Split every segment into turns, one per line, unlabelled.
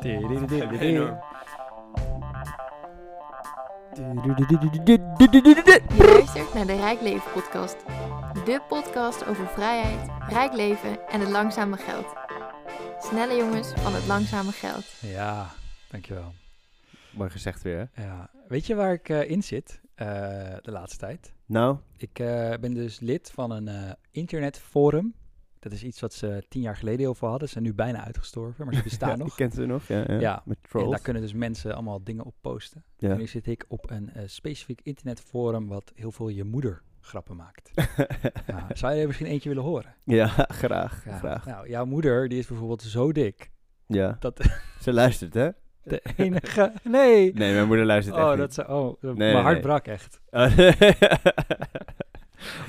Enorm.
Je luistert naar de Rijk Leven podcast. De podcast over vrijheid, rijk leven en het langzame geld. Snelle jongens van het langzame geld.
Ja, dankjewel.
Mooi gezegd weer, hè?
Ja. Weet je waar ik eh, in zit eh, de laatste tijd?
Nou,
Ik eh, ben dus lid van een eh, internetforum. Dat is iets wat ze tien jaar geleden heel veel hadden. Ze zijn nu bijna uitgestorven, maar ze bestaan
ja, ik
nog.
kent u nog, ja. ja.
Ja,
Met
En
trolls.
daar kunnen dus mensen allemaal dingen op posten.
Ja.
En nu zit ik op een eh, specifiek internetforum wat heel veel je moeder grappen maakt. Ja, zou je er misschien eentje willen horen?
ja, graag,
Ja.
graag.
Nou, jouw moeder die is bijvoorbeeld zo dik.
Ja.
Dat-
Ze luistert, hè?
De enige... Nee!
Nee, mijn moeder luistert echt
Oh,
niet.
dat zou... Oh,
nee,
mijn hart
nee.
brak echt.
Oh,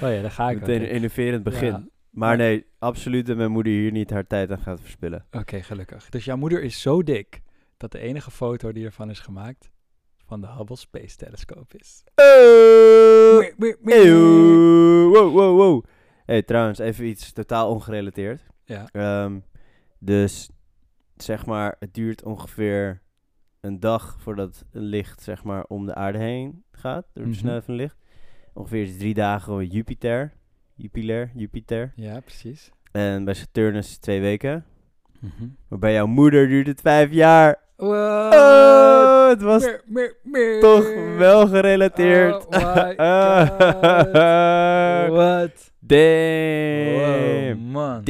Oh ja, daar ga ik
Meteen
ook.
een innoverend begin.
Ja.
Maar nee, absoluut dat mijn moeder hier niet haar tijd aan gaat verspillen.
Oké, gelukkig. Dus jouw moeder is zo dik dat de enige foto die ervan is gemaakt van de Hubble Space Telescope is.
Eeuw.
Meer, meer, meer.
Eh, Eeuw. Wow, wow, wow. hey, trouwens, even iets totaal ongerelateerd.
Ja,
Ehm, dus zeg maar, het duurt ongeveer een dag voordat een licht zeg maar, om de aarde heen gaat. Door de
Mhm.
snelheid van licht. Ongeveer is het drie dagen bij Jupiter. Jupiter, Jupiter.
ja, precies.
En bij Saturnus twee weken.
Mhm.
Maar bij jouw moeder duurt het vijf jaar.
Wat?
Oh, het was
Meer, meer, meer.
toch wel gerelateerd.
Mm.
Ah.
Oh my god. Wat? Oh
Damn.
man.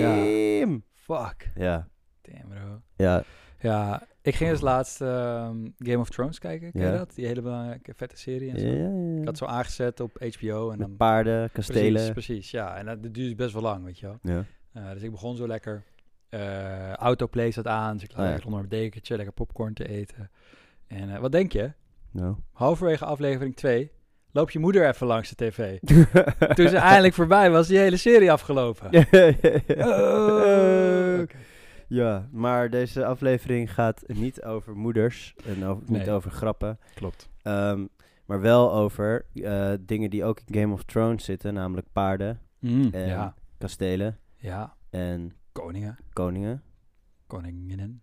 Damn.
Fuck.
Ja.
Damn bro.
Ja.
Ja, ik ging dus laatst ehm, Game of Thrones kijken. Ken je
Ja.
dat? Die hele belangrijke vette serie en zo.
ja.
Ik had zo aangezet op HBO en dan...
Met paarden, kastelen.
Precies, precies, ja. En eh, dat, dat duurt best wel lang, weet je wel.
Ja.
Eh, dus ik begon zo lekker. eh autoplay zat aan, dus ik lag
Ah, ja.
lekker onder mijn dekentje, lekker popcorn te eten. En eh, wat denk je?
Nou.
Halverwege aflevering 2 loopt je moeder even langs de tv. Toen ze eindelijk voorbij was, die hele serie afgelopen. Oh. Oké.
Eh. ja, maar deze aflevering gaat niet over moeders en over, niet
Nee.
over grappen,
Klopt.
ehm, maar wel over eh, dingen die ook in Game of Thrones zitten, namelijk paarden,
Mm,
En-
ja,
kastelen
ja,
en
koningen,
koningen.
koninginnen,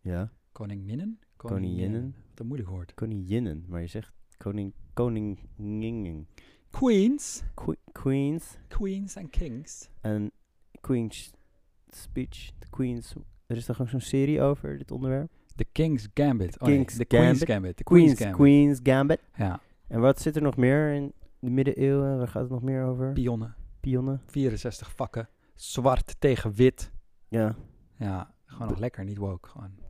Ja,
koninginnen,
Koninginnen.
Wat een moeilijk woord.
koninginnen, maar je zegt koning, koningingen.
Queens,
Que- queens
queens en kings.
en Queen's Speech, de Queen's... Er is toch ook zo'n serie over dit onderwerp?
The King's Gambit. Oh,
King's
nee, the Queen's
Gambit.
Gambit. The Queen's,
Queen's,
Gambit.
Queen's Gambit.
Ja,
En wat zit er nog meer in de middeleeuwen? Waar gaat het nog meer over?
pionnen.
Pionnen?
64 vakken. Zwart tegen wit.
Ja.
Ja, gewoon nog lekker, niet woke. Gewoon.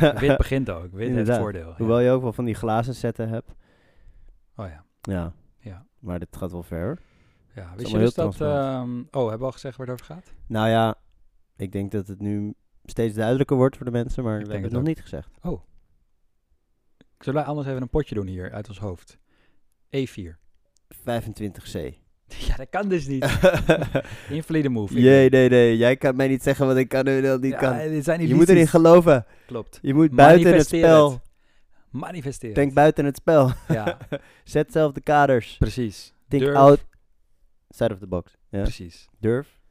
Wit begint ook. Wit
Inderdaad.
heeft voordeel. ja.
Hoewel je ook wel van die glazen zetten hebt.
Oh ja.
Ja.
Ja.
Maar dit gaat wel ver. hoor.
ja. Wist
allemaal
je
heel
dus dat...
transparant.
ehm, oh, hebben we al gezegd waar het over gaat?
Nou ja, ik denk dat het nu steeds duidelijker wordt voor de mensen, maar
Ik
we
denk
hebben het
het
nog
ook.
niet gezegd.
Zullen wij anders even een potje doen hier uit ons hoofd? E4.
25C.
Ja, dat kan dus niet. Invalide move. Ik-
Jee, nee, nee. Jij kan mij niet zeggen wat ik kan en dat niet
Ja,
kan.
dit zijn
Je moet erin
elites.
geloven.
Klopt.
Je moet buiten het
Manifesteer
spel.
het. Manifesteren.
Denk buiten het spel.
Ja,
Zet zelf de kaders.
precies.
Think
Durf.
out. Side of the box. Ja.
Precies.
Durf.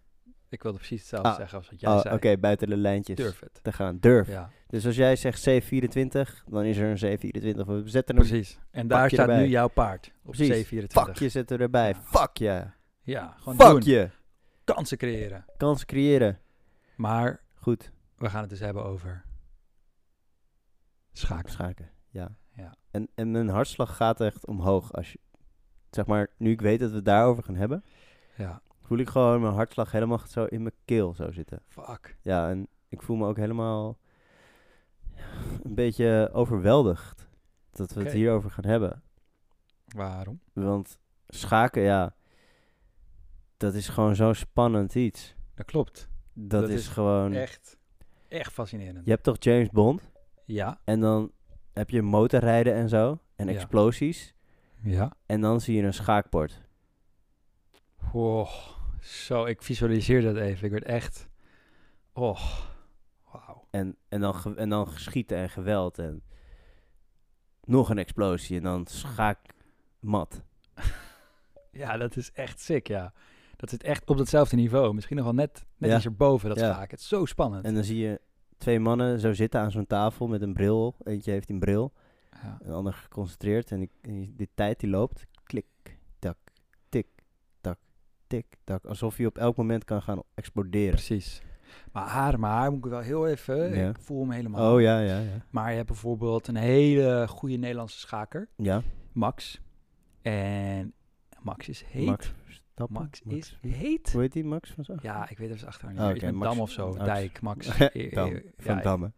Ik wilde precies hetzelfde
Ah,
zeggen als wat jij
Oh, Oké,
zei.
buiten de lijntjes.
Durf het.
te gaan. Durf.
Ja,
Dus als jij zegt C24, dan is er een C24. We zetten een
precies. En daar
pakje
staat nu
erbij.
jouw paard op
Precies.
C24.
pakje zetten we erbij.
Ja.
Fuck je.
Ja, gewoon
Fuck
doen.
je.
Kansen creëren.
Kansen creëren.
Maar
Goed.
we gaan het dus hebben over schaken.
Schaken. Ja.
Ja.
En, en mijn hartslag gaat echt omhoog. Als je, zeg maar, nu ik weet dat we het daarover gaan hebben,
Ja,
voel ik gewoon mijn hartslag helemaal zo in mijn keel zo zitten.
fuck.
Ja, en ik voel me ook helemaal een beetje overweldigd dat we het
Oké.
hierover gaan hebben.
Waarom?
Want schaken, ja, dat is gewoon zo'n spannend iets.
Dat klopt.
Dat,
Dat
is,
is
gewoon...
Echt, echt fascinerend.
Je hebt toch James Bond?
Ja,
En dan heb je motorrijden en zo. En
Ja.
explosies.
ja.
En dan zie je een schaakbord.
Oh, zo, ik visualiseer dat even. Ik werd echt, oh, wauw.
En, en, dan, ge- en dan schieten en geweld. En nog een explosie. En dan schaakmat.
Ja, dat is echt sick, ja. Dat zit echt op datzelfde niveau. Misschien nog wel net, net
Ja.
iets erboven, dat
Ja.
schaken. Het is zo spannend.
En dan zie je twee mannen zo zitten aan zo'n tafel met een bril op. Eentje heeft een bril,
Ja.
een ander geconcentreerd. En die, die, die tijd die loopt, klik, tak, tik, tak, tik, tak. Alsof je op elk moment kan gaan exploderen.
Precies. Maar haar, maar haar moet ik wel heel even.
Ja.
Ik voel hem helemaal.
Oh ja, ja, ja.
Maar je hebt bijvoorbeeld een hele goede Nederlandse schaker,
Ja,
Max. En Max is heet. Max,
Max Verstappen.
is heet.
Hoe heet die, Max van zo?
Ja, ik weet even zijn achternaam
Oh,
niet. meer.
oké,
Iets met
Max-
Dam of zo.
Max.
Dijk, Max. eh, eh,
Dam,
ja,
van
ik-
Damme.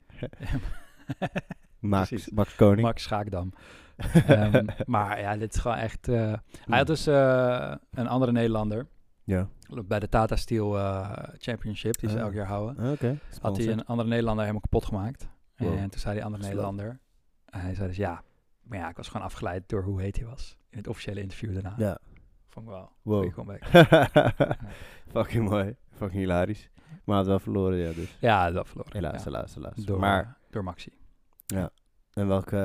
Max,
Precies.
Max Koning.
Max Schaakdam. Ehm, maar ja, dit is gewoon echt... eh, Hij had dus eh, een andere Nederlander
Ja,
bij de Tata Steel eh, Championship, die ze
Ah.
elk jaar houden.
oké.
had hij
Sponsor.
een andere Nederlander helemaal kapot gemaakt.
Wow.
En toen zei die andere
Slap.
Nederlander... Hij zei dus ja, maar ja, ik was gewoon afgeleid door hoe heet hij was. In het officiële interview daarna.
Ja.
Vond ik wel een
Wow.
goede comeback.
Fucking mooi. Fucking hilarisch. Maar had wel verloren, ja, dus.
Ja, dat verloor. ik,
Helaas,
ja.
helaas, helaas.
Door,
maar,
door Maxi.
en welke...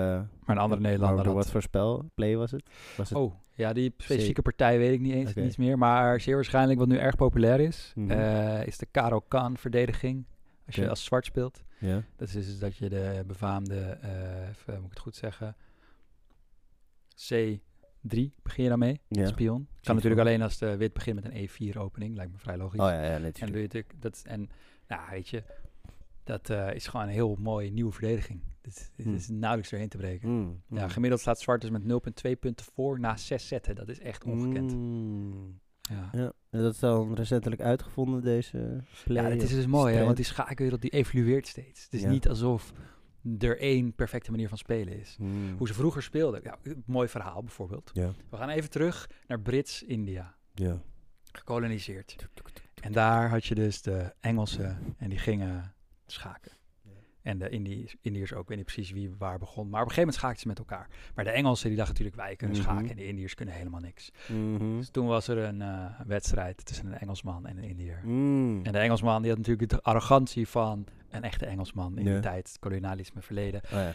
Maar een andere Nederlander
Door
had...
wat voor spel? Play was het? Was het
Oh, ja, die specifieke partij weet ik niet eens
Oké.
niets meer. Maar zeer waarschijnlijk wat nu erg populair is,
Mhm.
eh, is de Karo Khan verdediging. Als je
Oké.
als zwart speelt.
ja?
Dat is dus dat je de befaamde, eh, even, moet ik het goed zeggen, C3 begin je dan mee,
Ja.
spion. Kan
Spion.
natuurlijk alleen als de wit begint met een E4 opening, lijkt me vrij logisch.
Oh ja, ja,
En
natuurlijk.
doe je natuurlijk, dat, is- en nou weet je, dat eh, is gewoon een heel mooie nieuwe verdediging. Dit, dit
Hmm.
is nauwelijks doorheen te breken.
Mm,
Ja,
mm.
gemiddeld staat zwart dus met 0,2 punten voor na 6 zetten. Dat is echt ongekend.
Mm.
Ja.
Ja, en dat is dan recentelijk uitgevonden, deze play.
ja, dat is dus mooi, hè,
strijd.
want die schakelwereld die evolueert steeds. Het is
Ja.
niet alsof er één perfecte manier van spelen is.
Mm.
Hoe ze vroeger speelden. Ja, mooi verhaal bijvoorbeeld.
Ja,
We gaan even terug naar Brits-India,
ja.
gekoloniseerd. En daar had je dus de Engelsen en die gingen schaken.
Ja.
En de Indiërs, Indiërs ook, ik weet niet precies wie waar begon. Maar op een gegeven moment schaakten ze met elkaar. Maar de Engelsen die dachten natuurlijk, wij kunnen
Mhm.
schaken en de Indiërs kunnen helemaal niks.
Mhm.
Dus toen was er een eh, wedstrijd tussen een Engelsman en een Indiër.
Mm.
En de Engelsman die had natuurlijk de arrogantie van een echte Engelsman in
Ja.
die tijd, het kolonialisme verleden.
Oh ja.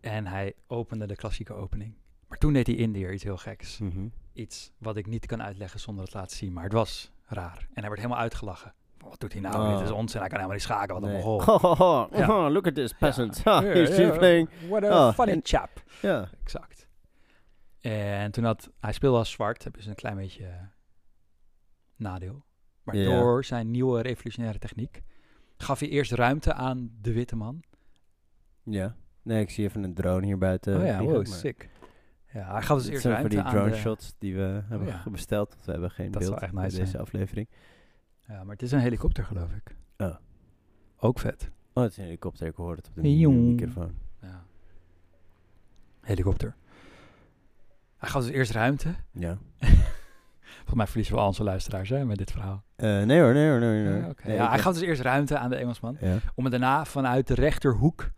En hij opende de klassieke opening. Maar toen deed die Indiër iets heel geks.
Mhm.
Iets wat ik niet kan uitleggen zonder het laten zien, maar het was raar. En hij werd helemaal uitgelachen. Wat doet hij nou?
Oh.
Dit is onzin, hij kan helemaal niet schaken, wat een
Nee.
mogol.
Ho, ho, ho.
Ja.
Oh, look at this peasant.
Ja.
Ha, he's
Ja, ja.
playing.
What a
Oh,
funny
en-
chap.
Ja.
Exact. En toen had hij speelde als zwart, dat is een klein beetje eh, nadeel. Maar
Ja.
door zijn nieuwe revolutionaire techniek gaf hij eerst ruimte aan de witte man.
Ja. Nee, ik zie even een drone hier buiten.
oh ja,
vliegen,
wow,
maar
sick. Ja, hij gaf dus
dit
eerst
zijn van
ruimte
die
aan
drone
de- Oh
shots die we hebben
ja.
ge- besteld. want We hebben geen
Dat zou
beeld
echt
bij
nice
deze
zijn.
aflevering.
Ja, maar het is een helikopter, geloof ik.
Oh.
Ook vet.
Oh, het is een helikopter. Ik hoor het op de
Hey,
nieuwe
jong.
microfoon.
Ja. Helikopter. Hij gaf dus eerst ruimte.
Ja.
Volgens mij verliezen we al onze luisteraars hè, met dit verhaal.
Eh, nee hoor, nee hoor, nee hoor. nee
Ja,
hoor.
oké.
Nee,
ja,
ik
hij
heb-
gaf dus eerst ruimte aan de Engelsman.
Ja.
om het daarna vanuit de rechterhoek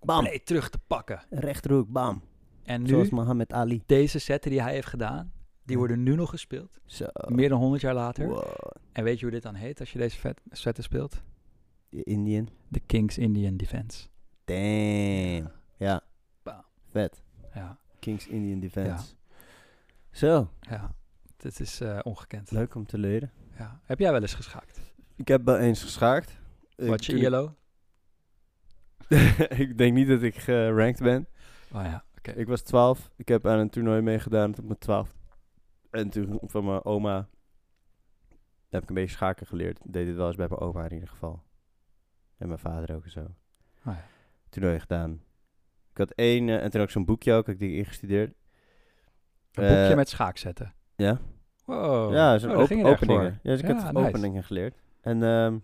Bam.
compleet terug te pakken.
Rechterhoek, bam.
En
Zoals
nu,
Mohammed Ali.
deze setten die hij heeft gedaan, die
Ja.
worden nu nog gespeeld.
Zo.
Meer dan 100 jaar later.
Wow.
En weet je hoe dit dan heet als je deze vet- setten speelt?
De Indian.
De Kings Indian Defense.
Damn. Ja.
Bam.
Vet.
Ja,
Kings Indian Defense. Zo.
ja. Dit is eh, ongekend.
Leuk om te leren.
Ja. Heb jij wel eens geschaakt?
Ik heb wel eens geschaakt. Ik-
Wat je
toen ik-
ILO?
ik denk niet dat ik geranked ben.
Oh ja, oké.
Ik was 12. Ik heb aan een toernooi meegedaan tot mijn 12. En toen van mijn oma heb ik een beetje schaken geleerd. Ik Deed het wel eens bij mijn oma in ieder geval. En mijn vader ook en zo.
Oh ja.
Toernooi gedaan. Ik had één, eh, en toen ook zo'n boekje ook, had ik die ingestudeerd.
Een
Eh,
boekje met schaakzetten.
Ja,
Wow.
ja zo'n
Oh, daar
op-
ging je echt
openingen.
voor.
Ja, dus ik
Ja,
had
nice.
openingen geleerd. En ehm,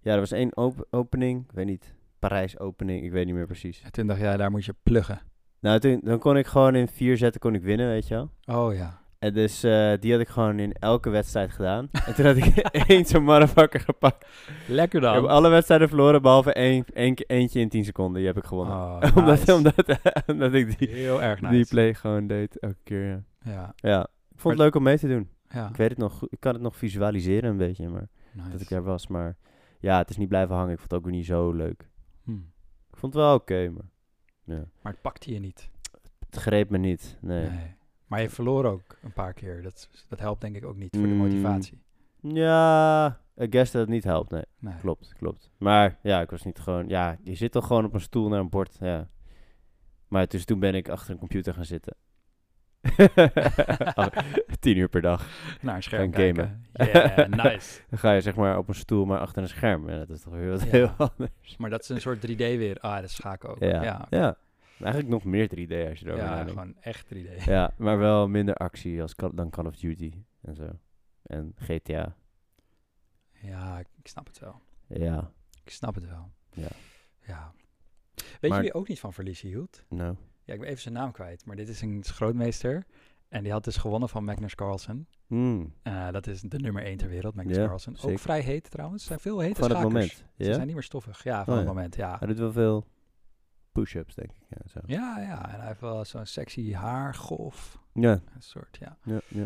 ja, er was één op- opening, ik weet niet, Parijs opening, ik weet niet meer precies.
En toen dacht jij, daar moet je pluggen.
Nou, toen, dan kon ik gewoon in vier zetten kon ik winnen, weet je wel.
Oh ja.
En dus eh, die had ik gewoon in elke wedstrijd gedaan. En toen had ik één zo'n motherfucker gepakt.
Lekker
Ik heb
dan.
alle wedstrijden verloren, behalve één, één, ke- eentje in 10 seconden. Die heb ik gewonnen.
Oh,
omdat,
nice.
omdat, omdat ik die,
Heel erg nice.
die play gewoon deed elke keer. Ja.
Ja,
Ja, ik vond het leuk om mee te doen.
ja.
Ik weet het nog, goed- ik kan het nog visualiseren een beetje, maar
Nice.
dat ik daar was. Maar ja, het is niet blijven hangen. Ik vond het ook weer niet zo leuk.
Hmm.
Ik vond het wel oké, maar ja.
Maar het pakte je niet.
het greep me niet. Nee.
Nee. Maar je verloor ook een paar keer. Dat, dat helpt denk ik ook niet voor de
Mm.
motivatie.
Ja, Ik guess dat het niet helpt, nee.
Nee.
Klopt, klopt. Maar ja, ik was niet gewoon... Ja, je zit toch gewoon op een stoel naar een bord, ja. Maar dus toen ben ik achter een computer gaan zitten. Oh, tien uur per dag.
Naar een scherm
Gaan
kijken. Yeah, nice.
Dan ga je zeg maar op een stoel, maar achter een scherm. Ja, dat is toch weer wat
Ja.
heel anders.
Maar dat is een soort 3D weer. Ah, dat is schaken ook.
Ja.
ja.
Ja. Eigenlijk nog meer 3D als je erover
Ja,
nadenkt.
gewoon echt 3D.
Ja, maar wel minder actie als Call- dan Call of Duty en zo. En GTA.
Ja, ik ik snap het wel.
Ja.
Ik snap het wel.
Ja.
Ja. Weet
Maar-
je wie ook niet van verliezen hield?
Nou.
Ja, ik ben even zijn naam kwijt. Maar dit is een grootmeester. En die had dus gewonnen van Magnus Carlsen.
Hmm,
Eh, dat is de nummer 1 ter wereld, Magnus
Ja,
Carlsen. Ook
zeker.
vrij heet trouwens. Ze zijn veel hete
Van het
schakers.
moment.
Ze
Ja?
zijn niet meer stoffig. Ja, van
Oh,
het
ja.
moment, ja.
Hij doet wel veel push-ups, denk ik. Ja, zo.
Ja, ja. En hij heeft wel zo'n sexy haar, golf.
ja,
Een soort, ja.
ja. ja.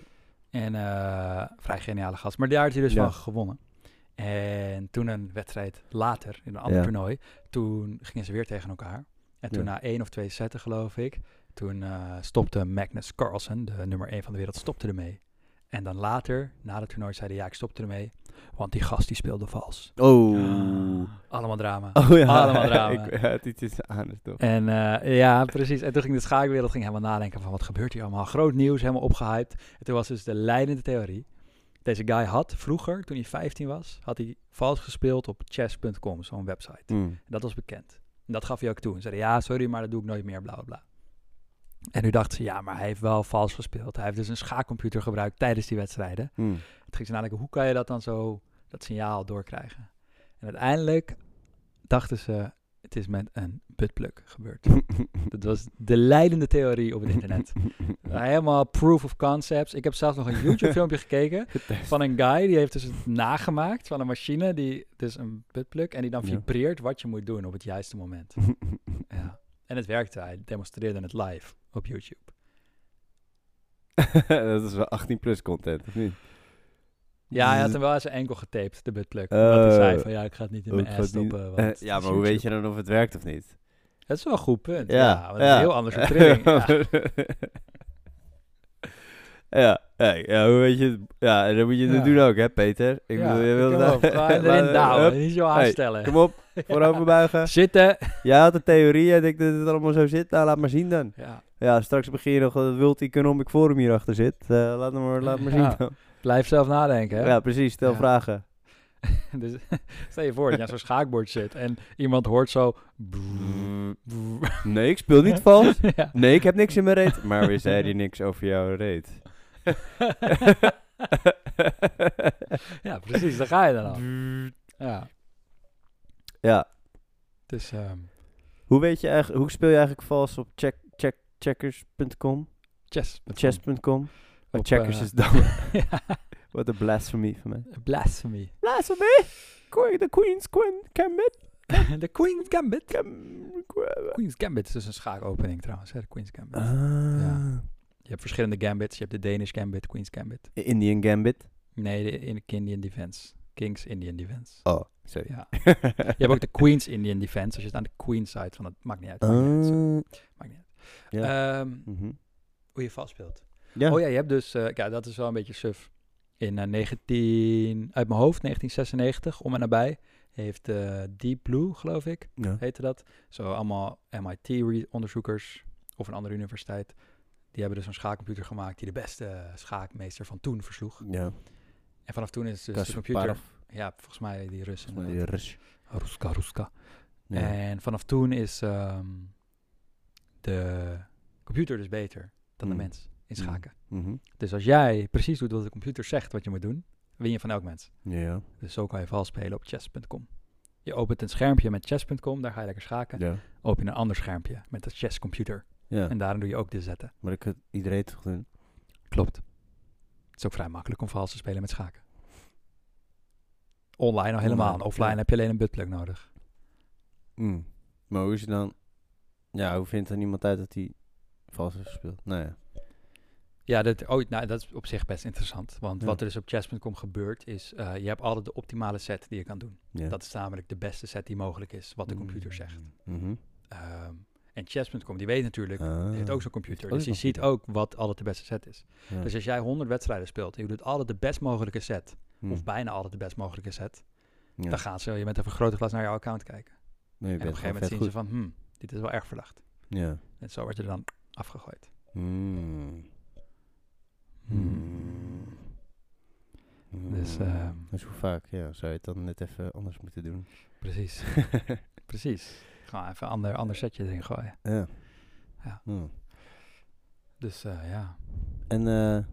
En eh, vrij geniale gast. Maar daar had hij dus
Ja.
van gewonnen. En toen een wedstrijd later, in een ander
Ja.
toernooi, toen gingen ze weer tegen elkaar. En toen
Ja.
na één of twee setten, geloof ik, toen eh, stopte Magnus Carlsen, de nummer één van de wereld, stopte ermee. En dan later, na het toernooi, zei hij, ja, ik stopte ermee, want die gast die speelde vals.
Oh.
Allemaal drama.
Oh ja.
Allemaal drama.
ik had iets in zijn anus, toch?
En eh, ja, precies. En toen ging de schaakwereld ging helemaal nadenken van wat gebeurt hier allemaal. Groot nieuws, helemaal opgehyped. En toen was dus de leidende theorie. Deze guy had vroeger, toen hij 15 was, had hij vals gespeeld op chess.com, zo'n website.
Hmm.
En dat was bekend. En dat gaf hij ook toe. En zei ja, sorry, maar dat doe ik nooit meer, bla bla bla. En nu dachten ze, ja, maar hij heeft wel vals gespeeld. Hij heeft dus een schaakcomputer gebruikt tijdens die wedstrijden.
Hmm.
Toen ging ze nadenken, hoe kan je dat dan zo, dat signaal doorkrijgen? En uiteindelijk dachten ze, het is met een buttplug gebeurd. Dat was de leidende theorie op het internet. Nou, Helemaal proof of concepts. Ik heb zelfs nog een YouTube-filmpje gekeken
Getest.
van een guy die heeft dus het nagemaakt van een machine die dus een buttplug en die dan
Ja.
vibreert wat je moet doen op het juiste moment. Ja. En het werkte. Hij demonstreerde het live op YouTube.
dat is wel 18 plus content, of niet?
Ja,
dus
hij had hem wel aan zijn enkel getaped, de buttplug. omdat hij
Eh,
zei van ja, ik ga het niet in
oh,
mijn
ik ga
ass
het niet-
stoppen. want
Eh,
het
ja,
is
maar hoe weet
YouTube.
je dan of het werkt of niet?
Dat is wel een goed punt. Ja,
Ja,
want het is
ja.
heel anders op trilling. ja.
ja, hey, ja, hoe weet je het? Ja, en dat moet je
Ja.
nu doen ook, hè, Peter? Ik
Ja,
bedoel, je wilde...
kom op, gewoon erin
Laat-
douwen,
hup,
niet zo
Hey,
aanstellen.
Kom op, voorover buigen.
Zitten.
Jij had een theorie, jij denkt dat het allemaal zo zit. Nou, laat maar zien dan.
Ja,
Ja, straks begin je nog dat het World Economic Forum hierachter zit. Eh, laat maar, laat maar zien
Ja.
dan.
blijf zelf nadenken.
Ja,
Hè?
precies. Stel
Ja.
vragen.
Dus, stel je voor dat je aan zo'n schaakbord zit en iemand hoort zo...
Nee, ik speel niet vals.
Ja.
Nee, ik heb niks in mijn reet. Maar weer zei hij niks over jouw reet.
ja, precies, daar ga je dan al. Ja,
Ja,
dus... ehm,
hoe weet je eigenlijk, hoe speel je eigenlijk vals op check, check, checkers.com?
chess.
Chess.com? Oh,
Op,
checkers
eh,
is dan.
ja,
Wat een blasphemy van mij.
blasphemy.
Blasphemy! Queen, de Queen's Queen, Gambit.
De Queen's Gambit.
Gam-
Queen's Gambit is dus een schaakopening trouwens, hè, de Queen's Gambit.
Ah,
Je hebt verschillende gambits. Je hebt de Danish Gambit, Queen's Gambit.
Indian Gambit.
Nee, de in- Indian Defense. King's Indian Defense.
Oh, sorry.
Ja. Je
Oh,
hebt ook de Queen's Indian Defense. Als je het aan de Queen's side van het maakt niet uit. Maakt niet uit, sorry,
Ah,
maakt niet uit.
ja.
Ehm,
mhm.
hoe je vast speelt.
Ja.
Oh ja, je hebt dus, eh ja, dat is wel een beetje suf. In eh, 19, uit mijn hoofd, 1996, om en nabij, heeft eh, Deep Blue, geloof ik,
Ja.
heette dat. Zo allemaal MIT-onderzoekers of een andere universiteit. Die hebben dus een schaakcomputer gemaakt die de beste eh, schaakmeester van toen versloeg.
Ja.
En vanaf toen is dus de computer...
Kasparov.
Ja, volgens mij die Russen.
Volgens mij die Rus.
Ruska, Ruska.
Ja.
En vanaf toen is ehm, de computer dus beter dan
Mm.
de mens in
Mm.
schaken.
Mhm.
Dus als jij precies doet wat de computer zegt wat je moet doen, win je van elk mens.
Ja.
Dus zo kan je vals spelen op chess.com. Je opent een schermpje met chess.com, daar ga je lekker schaken.
Ja.
Open je een ander schermpje met de chesscomputer.
Ja.
En daarin doe je ook de zetten.
Maar ik had iedereen toch doen.
Klopt. Het is ook vrij makkelijk om vals te spelen met schaken. Online al helemaal.
Online,
Offline
ja.
heb je alleen een buttplug nodig.
Mm. Maar hoe is het dan? Ja, hoe vindt er niemand uit dat hij vals heeft gespeeld? Nou ja.
Ja, dat, oh, nou, dat is op zich best interessant. Want
Ja.
wat er dus op chess.com gebeurt is, eh, je hebt altijd de optimale set die je kan doen.
ja. Mm.
Dat is namelijk de beste set die mogelijk is, wat de computer zegt.
Mhm.
Ehm, en chess.com, die weet natuurlijk,
Ah.
die heeft ook zo'n computer.
Heeft ook
Dus je
zo'n
ziet ook wat altijd de beste set is.
Ja.
Dus als jij 100 wedstrijden speelt en je doet altijd de best mogelijke set,
Hm.
of bijna altijd de best mogelijke set,
Ja.
dan gaan ze je met een vergrootglas naar jouw account kijken.
Nee, je
en op een
bent
gegeven
wel
moment
vet
zien ze van, hm, dit is wel erg verdacht.
goed. Ja.
En zo word je er dan afgegooid.
Mm. Hm.
Hmm.
Mm. Mm.
Dus, ehm,
dus hoe vaak ja, zou je het dan net even anders moeten doen?
Precies, precies. Gewoon even een ander, ander setje erin gooien.
ja.
Ja.
Mm.
Dus eh, ja,
En eh,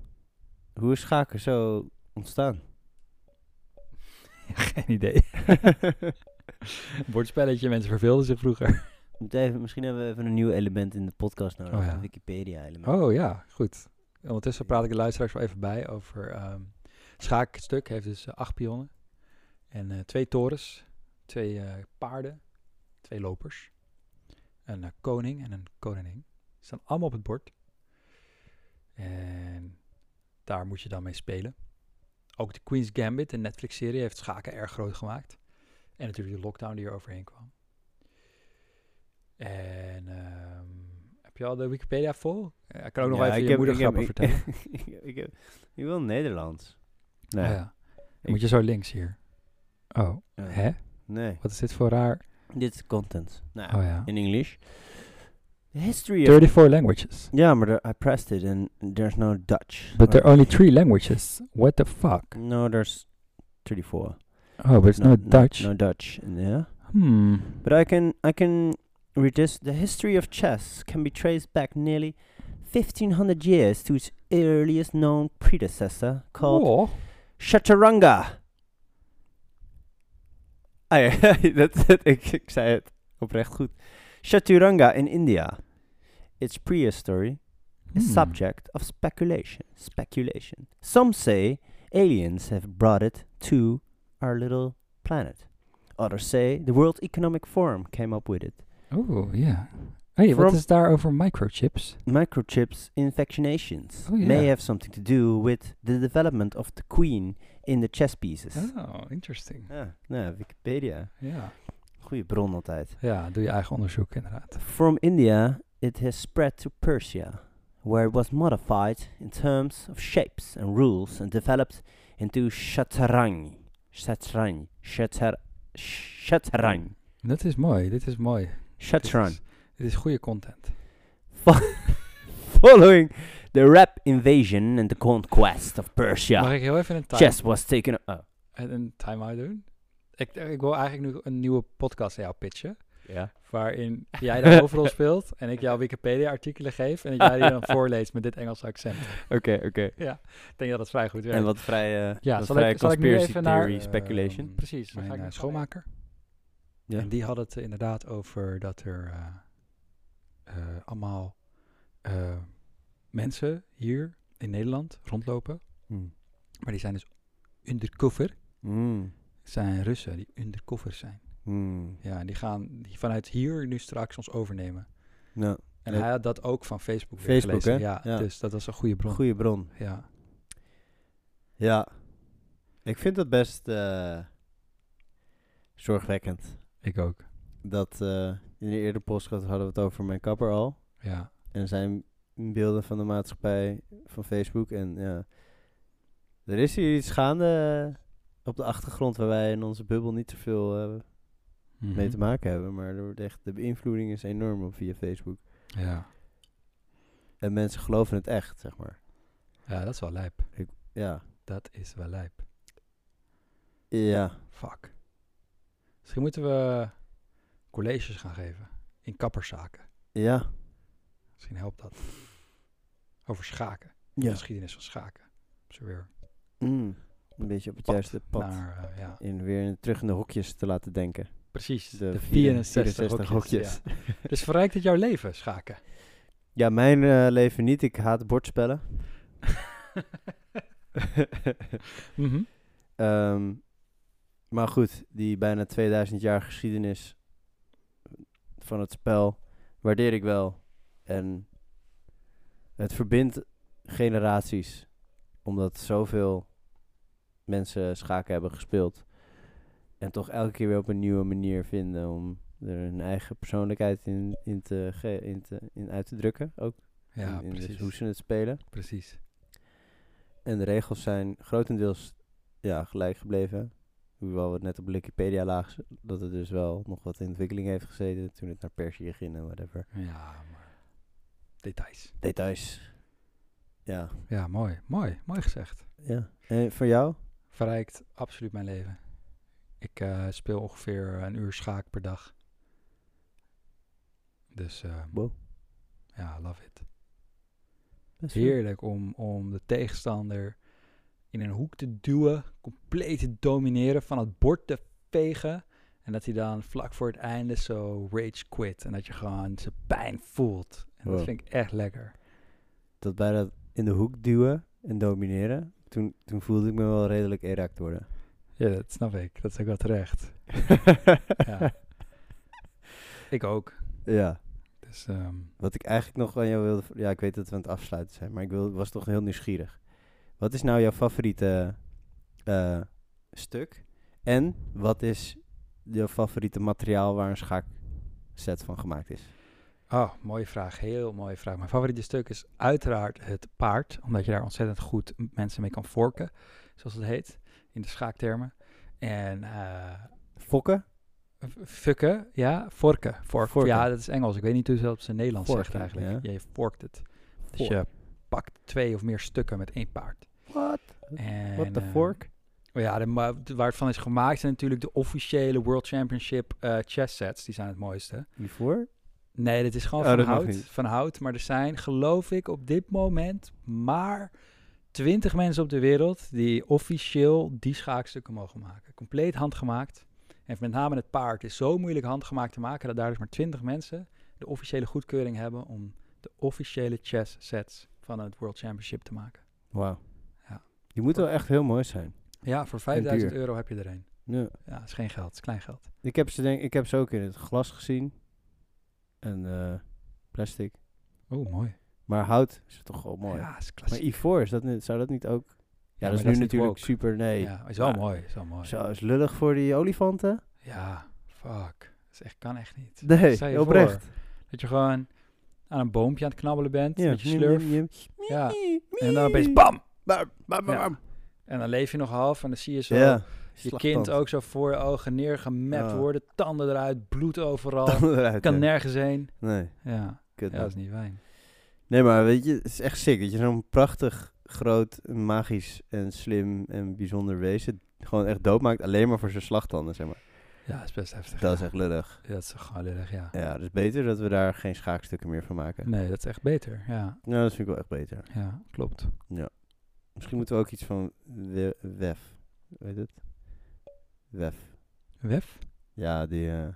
hoe is schaken zo ontstaan?
geen idee. Bordspelletje, mensen verveelden zich vroeger.
Moet even- misschien hebben we even een nieuw element in de podcast nodig.
Oh ja.
Een Wikipedia-element.
Oh ja, goed. Ondertussen praat ik de luisteraars wel even bij over... ehm schaakstuk heeft dus eh, acht pionnen. En eh, twee torens, twee eh, paarden, twee lopers. Een eh, koning en een koningin. Die staan allemaal op het bord. En daar moet je dan mee spelen. Ook de Queen's Gambit, de Netflix-serie, heeft schaken erg groot gemaakt. En natuurlijk de lockdown die er overheen kwam. En ehm, heb je al de Wikipedia vol? Eh, Ik kan ook nog
Ja,
even
ik
je
heb-
moedergrappen
ik heb-
vertellen.
ik, heb, ik wil Nederlands. Nee.
Oh ja. Dan
Ik-
Moet je zo links hier? Oh,
Ja.
hè?
Nee.
Wat is dit voor raar?
Dit is content. Nou,
Oh ja.
in English. The history of...
34 languages.
Ja, maar er- I pressed it and there's no Dutch.
But there are only three languages. What the fuck?
No, there's 34.
Oh, but it's
no,
not Dutch.
No, Dutch, yeah.
Hmm.
But I can, I can read this. The history of chess can be traced back nearly 1500 years to its earliest known predecessor called
Oh.
Chaturanga. Ah ja, dat, dat- ik, ik zei het oprecht goed. Chaturanga in India. Its prehistory is
Hmm.
subject of speculation. Speculation. Some say aliens have brought it to our little planet. Others say the World Economic Forum came up with it.
Oh, ja. Hey, wat
From-
is daar over microchips?
Microchips infectionations
Oh,
may
yeah.
have something to do with the development of the queen in the chess pieces.
Oh, interesting.
Ja, nou, Wikipedia.
Ja.
Goede bron altijd.
Ja, doe je eigen onderzoek inderdaad.
From India, it has spread to Persia, where it was modified in terms of shapes and rules and developed into Shatarang. Shatarang. Shatar. Shatarang.
Dat is mooi, dit is mooi.
Shatarang.
Dit is goede content.
Fo- Following the rap invasion and the conquest of
Mag
Persia,
ik heel even een time,
chess was taken. Oh.
een een time-out doen? Ik, ik wil eigenlijk nu een nieuwe podcast aan jou pitchen.
Ja.
waarin jij de hoofdrol speelt en ik jou Wikipedia-artikelen geef en dat jij die dan voorleest met dit Engelse accent.
Oké, oké.
Ik denk dat dat vrij goed werkt.
En wat vrij.
ja,
wat
zal
vrij
ik, zal ik nu
conspiracy
even naar...
theory speculation.
Ehm, precies, dan ga
Mijn,
ik
eh,
naar schoonmaker.
Ja.
En die had het eh, inderdaad over dat er eh, eh, allemaal eh, mensen hier in Nederland rondlopen,
Hmm.
maar die zijn dus undercover.
Mm.
zijn Russen die undercover zijn.
Mm.
Ja, en die gaan die vanuit hier nu straks ons overnemen.
Nou,
En
Leuk.
hij had dat ook van Facebook weer
Facebook,
gelezen.
hè?
Ja,
Ja.
dus dat was een goede bron.
goede bron.
Ja.
Ja, ik vind dat best eh, zorgwekkend.
Ik ook.
Dat eh, in de eerdere podcast hadden we het over mijn kapper al.
Ja.
En zijn beelden van de maatschappij van Facebook. En ja, er is hier iets gaande eh, op de achtergrond waar wij in onze bubbel niet zoveel eh,
Mhm.
mee te maken hebben. Maar er wordt echt, de beïnvloeding is enorm op via Facebook.
Ja.
En mensen geloven het echt, zeg maar.
ja, dat is wel lijp.
Ja,
Dat is wel lijp.
ja.
Fuck. Misschien moeten we colleges gaan geven in kapperszaken.
ja.
Misschien helpt dat. Over schaken. De
Ja.
geschiedenis van schaken. Ze weer
Mm. Een beetje op het
Pad
juiste pad.
naar, eh, ja.
in weer in- terug in de hokjes te laten denken.
Precies, de,
De
64,
64
hokjes.
hokjes.
ja. Dus verrijkt het jouw leven, schaken?
Ja, mijn eh, leven niet. Ik haat bordspellen.
Mhm.
Ehm, maar goed, die bijna 2000 jaar geschiedenis van het spel waardeer ik wel. En het verbindt generaties, omdat zoveel mensen schaken hebben gespeeld. En toch elke keer weer op een nieuwe manier vinden om er hun eigen persoonlijkheid in, in, te, ge- in, te, in uit te drukken. Ook
Ja,
in, in dus
precies.
hoe ze het spelen.
precies.
En de regels zijn grotendeels ja, gelijk gebleven. Hoewel we het net op Wikipedia lagen, dat het dus wel nog wat in ontwikkeling heeft gezeten toen het naar Perzië ging en whatever.
Ja, maar... Details.
Details. Ja,
Ja, mooi. Mooi. Mooi gezegd.
ja. En voor jou?
Verrijkt absoluut mijn leven. Ik eh, speel ongeveer een uur schaak per dag. Dus eh,
Wow.
ja, love it.
Best wel.
Heerlijk om, om de tegenstander in een hoek te duwen, compleet te domineren, van het bord te vegen. En dat hij dan vlak voor het einde zo rage quit. En dat je gewoon zijn pijn voelt. En dat
Wow.
vind ik echt lekker.
Dat bij dat in de hoek duwen en domineren, toen, toen voelde ik me wel redelijk erect worden.
Ja, dat snap ik. Dat is ook wel terecht. Ja. ik ook.
ja.
Dus ehm,
Wat ik eigenlijk nog aan jou wilde... v- Ja, ik weet dat we aan het afsluiten zijn, maar ik wil, was toch heel nieuwsgierig. Wat is nou jouw favoriete eh, stuk? En wat is jouw favoriete materiaal waar een schaakset van gemaakt is?
Oh, mooie vraag. Heel mooie vraag. Mijn favoriete stuk is uiteraard het paard. Omdat je daar ontzettend goed m- mensen mee kan vorken. Zoals het heet. In de schaaktermen. En eh,
Fokken?
f- fukken. Ja, vorken. Vork.
Vorken.
Ja, dat is Engels. Ik weet niet hoe ze dat op zijn Nederlands
Vorken,
zegt eigenlijk.
ja.
Je vorkt het. Dus je pakt twee of meer stukken met één paard.
What?
En,
What the
eh,
fork?
ja, de, ma- waar het van is gemaakt zijn natuurlijk de officiële World Championship eh chess sets. Die zijn het mooiste.
Hiervoor?
Nee, dit is gewoon
Oh,
van
dat mag
hout.
niet.
Van hout. Maar er zijn, geloof ik, op dit moment maar 20 mensen op de wereld die officieel die schaakstukken mogen maken. Compleet handgemaakt. En met name het paard is zo moeilijk handgemaakt te maken dat daar dus maar 20 mensen de officiële goedkeuring hebben om de officiële chess sets van het World Championship te maken.
Wauw.
Ja.
Die moet wel echt heel mooi zijn.
Ja, voor 5000
duur.
euro heb je er een.
Ja.
Ja, dat is geen geld, het is klein geld.
Ik heb, ze denk, ik heb ze ook in het glas gezien. En eh, plastic.
Oeh, mooi.
Maar hout is toch wel mooi.
Ja, is
maar
klassiek.
ivoor, is dat niet, zou dat niet ook... Ja,
maar
dat is
dat
nu
is niet
natuurlijk
woke.
super... Nee.
Ja, is wel
Maar-
mooi, is wel mooi.
Zo, is lullig voor die olifanten?
Ja, fuck. Dat is echt, kan echt niet.
Nee,
Stel je
oprecht.
Dat je gewoon aan een boompje aan het knabbelen bent met je
miem,
slurf.
miem, miem.
Ja.
Mie, mie.
En dan opeens bam!
Bam, bam, bam,
Ja.
bam.
En dan leef je nog half en dan zie je zo
Ja.
je kind ook zo voor je ogen neergemapt
Ja.
worden. Tanden eruit, bloed overal.
eruit.
kan
ja.
nergens heen.
Nee,
Ja.
kut
ja,
man.
dat is niet fijn.
Nee, maar weet je, het is echt sick. Dat je zo'n prachtig, groot, magisch en slim en bijzonder wezen gewoon echt doodmaakt alleen maar voor zijn slachtanden, zeg maar.
Ja, dat is best heftig.
Dat is
ja.
echt lullig.
Ja, dat is gewoon lullig, ja.
Ja, dus beter dat we daar geen schaakstukken meer van maken.
Nee, dat is echt beter. Ja,
Nou, dat vind ik wel echt beter.
ja klopt.
Misschien moeten we ook iets van we- WEF, weet het? WEF.
WEF?
Ja, die, eh,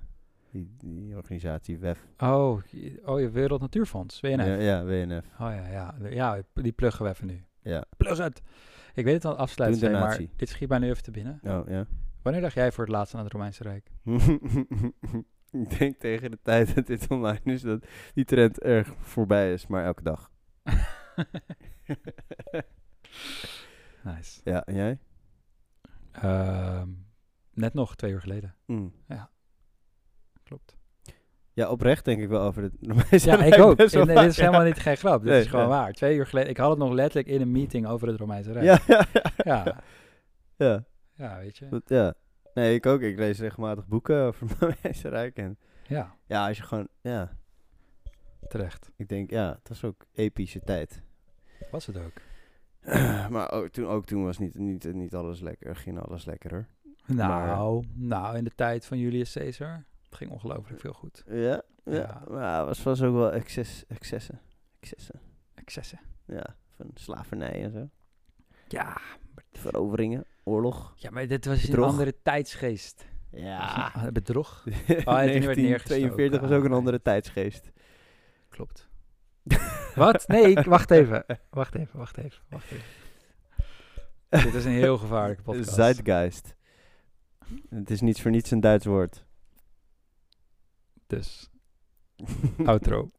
die, die organisatie WEF.
Oh, je- oh, je Wereld Natuurfonds,
Ja,
WNF.
ja, WNF.
Oh ja, ja, De- ja, die pluggen we even nu.
Ja.
Plug het! Ik weet het al afsluiten,
Doe een
zijn, maar
donatie.
dit schiet mij nu even te binnen.
Oh, ja.
Wanneer dacht jij voor het laatst aan het Romeinse Rijk?
ik denk tegen de tijd dat dit online is, dat die trend erg voorbij is, maar elke dag.
nice.
Ja, en jij?
Ehm, net nog, twee uur geleden.
Mm.
Klopt.
Ja, oprecht denk ik wel over het. Romeinse
Ja,
Rijk
ik ook.
best wel
En, nee, dit is
vaak,
helemaal niet geen grap. Dit
Nee,
is gewoon
nee.
waar. Twee uur geleden. Ik had het nog letterlijk in een meeting over het Romeinse Rijk.
Ja, ja, ja,
ja,
ja.
ja, weet je.
Dat, ja. Nee, ik ook. Ik lees regelmatig boeken over het Romeinse Rijk. En
Ja,
ja, als je gewoon, ja,
terecht.
ik denk, ja, het was ook epische tijd.
Was het ook.
maar ook toen, ook toen was niet, niet, niet alles lekker, ging alles lekker hoor.
Nou, nou, in de tijd van Julius Caesar ging ongelooflijk veel goed.
Ja, ja.
Ja.
Maar het was, was ook wel excess, excessen. Excessen.
Excessen.
Ja, van slavernij en zo.
Ja,
Veroveringen, oorlog.
ja maar dit was een
Bedrog.
andere tijdsgeest.
Ja.
Ah, Bedrog. hij heeft niet meer neergestoken.
1942 was ook een
Ah,
andere tijdsgeest.
Klopt. Wat? Nee, ik- wacht even. Wacht even, wacht even, wacht even. Dit is een heel gevaarlijke podcast.
Zeitgeist. Het is niet voor niets een Duits woord.
Dus, outro.